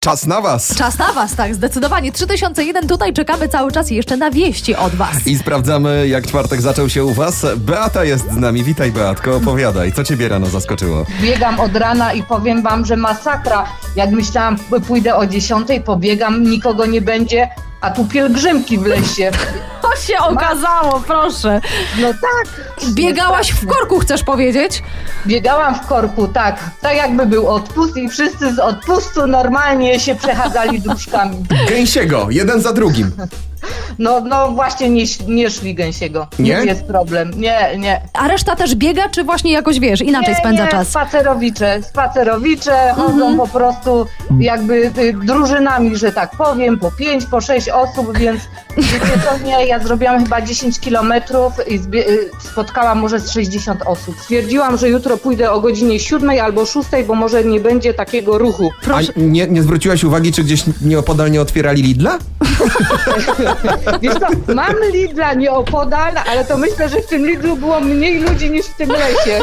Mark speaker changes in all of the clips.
Speaker 1: Czas na was!
Speaker 2: Czas na was, tak, zdecydowanie. 3001 tutaj czekamy cały czas jeszcze na wieści od was.
Speaker 1: I sprawdzamy, jak czwartek zaczął się u was. Beata jest z nami. Witaj, Beatko. Opowiadaj, co ciebie rano zaskoczyło?
Speaker 3: Biegam od rana i powiem wam, że masakra. Jak myślałam, p- pójdę o 10, pobiegam, nikogo nie będzie, a tu pielgrzymki w lesie.
Speaker 2: To się okazało, proszę.
Speaker 3: No tak.
Speaker 2: Biegałaś w korku, chcesz powiedzieć?
Speaker 3: Biegałam w korku, tak. Tak jakby był odpust i wszyscy z odpustu normalnie się przechadzali dróżkami.
Speaker 1: Gęsiego, jeden za drugim.
Speaker 3: No, no właśnie nie, ś- nie szli gęsiego.
Speaker 1: Nie?
Speaker 3: Nie? Jest problem. Nie, nie.
Speaker 2: A reszta też biega, czy właśnie jakoś wiesz, inaczej
Speaker 3: nie,
Speaker 2: spędza
Speaker 3: nie,
Speaker 2: czas? Mhm.
Speaker 3: Spacerowicze, spacerowicze chodzą po prostu jakby y, drużynami, że tak powiem, po pięć, po sześć osób, więc wiecie co nie, ja zrobiłam chyba 10 kilometrów i zbie- y, spotkałam może z 60 osób. Stwierdziłam, że jutro pójdę o godzinie 7 albo 6, bo może nie będzie takiego ruchu.
Speaker 1: A nie, nie zwróciłaś uwagi, czy gdzieś nieopodal nie otwierali Lidla?
Speaker 3: Wiesz co, mam Lidla nieopodal, ale to myślę, że w tym Lidlu było mniej ludzi niż w tym lesie.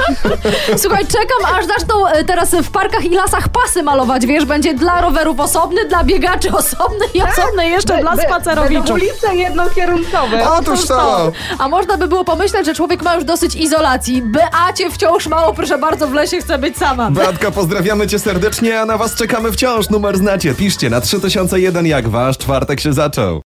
Speaker 2: Słuchaj, czekam, aż zaczną e, teraz w parkach i lasach pasy malować, wiesz, będzie dla rowerów osobny, dla biegaczy osobny i osobny jeszcze
Speaker 3: Be-
Speaker 2: dla
Speaker 3: be- będą
Speaker 2: spacerowiczów.
Speaker 3: ulice jednokierunkowe.
Speaker 1: Otóż to!
Speaker 2: A można by było pomyśleć, że człowiek ma już dosyć izolacji. Beacie wciąż mało, proszę bardzo, w lesie chce być sama.
Speaker 1: Beatka, pozdrawiamy cię serdecznie, a na was czekamy wciąż. Numer znacie, piszcie na 3001, jak wasz czwartek się zaczął.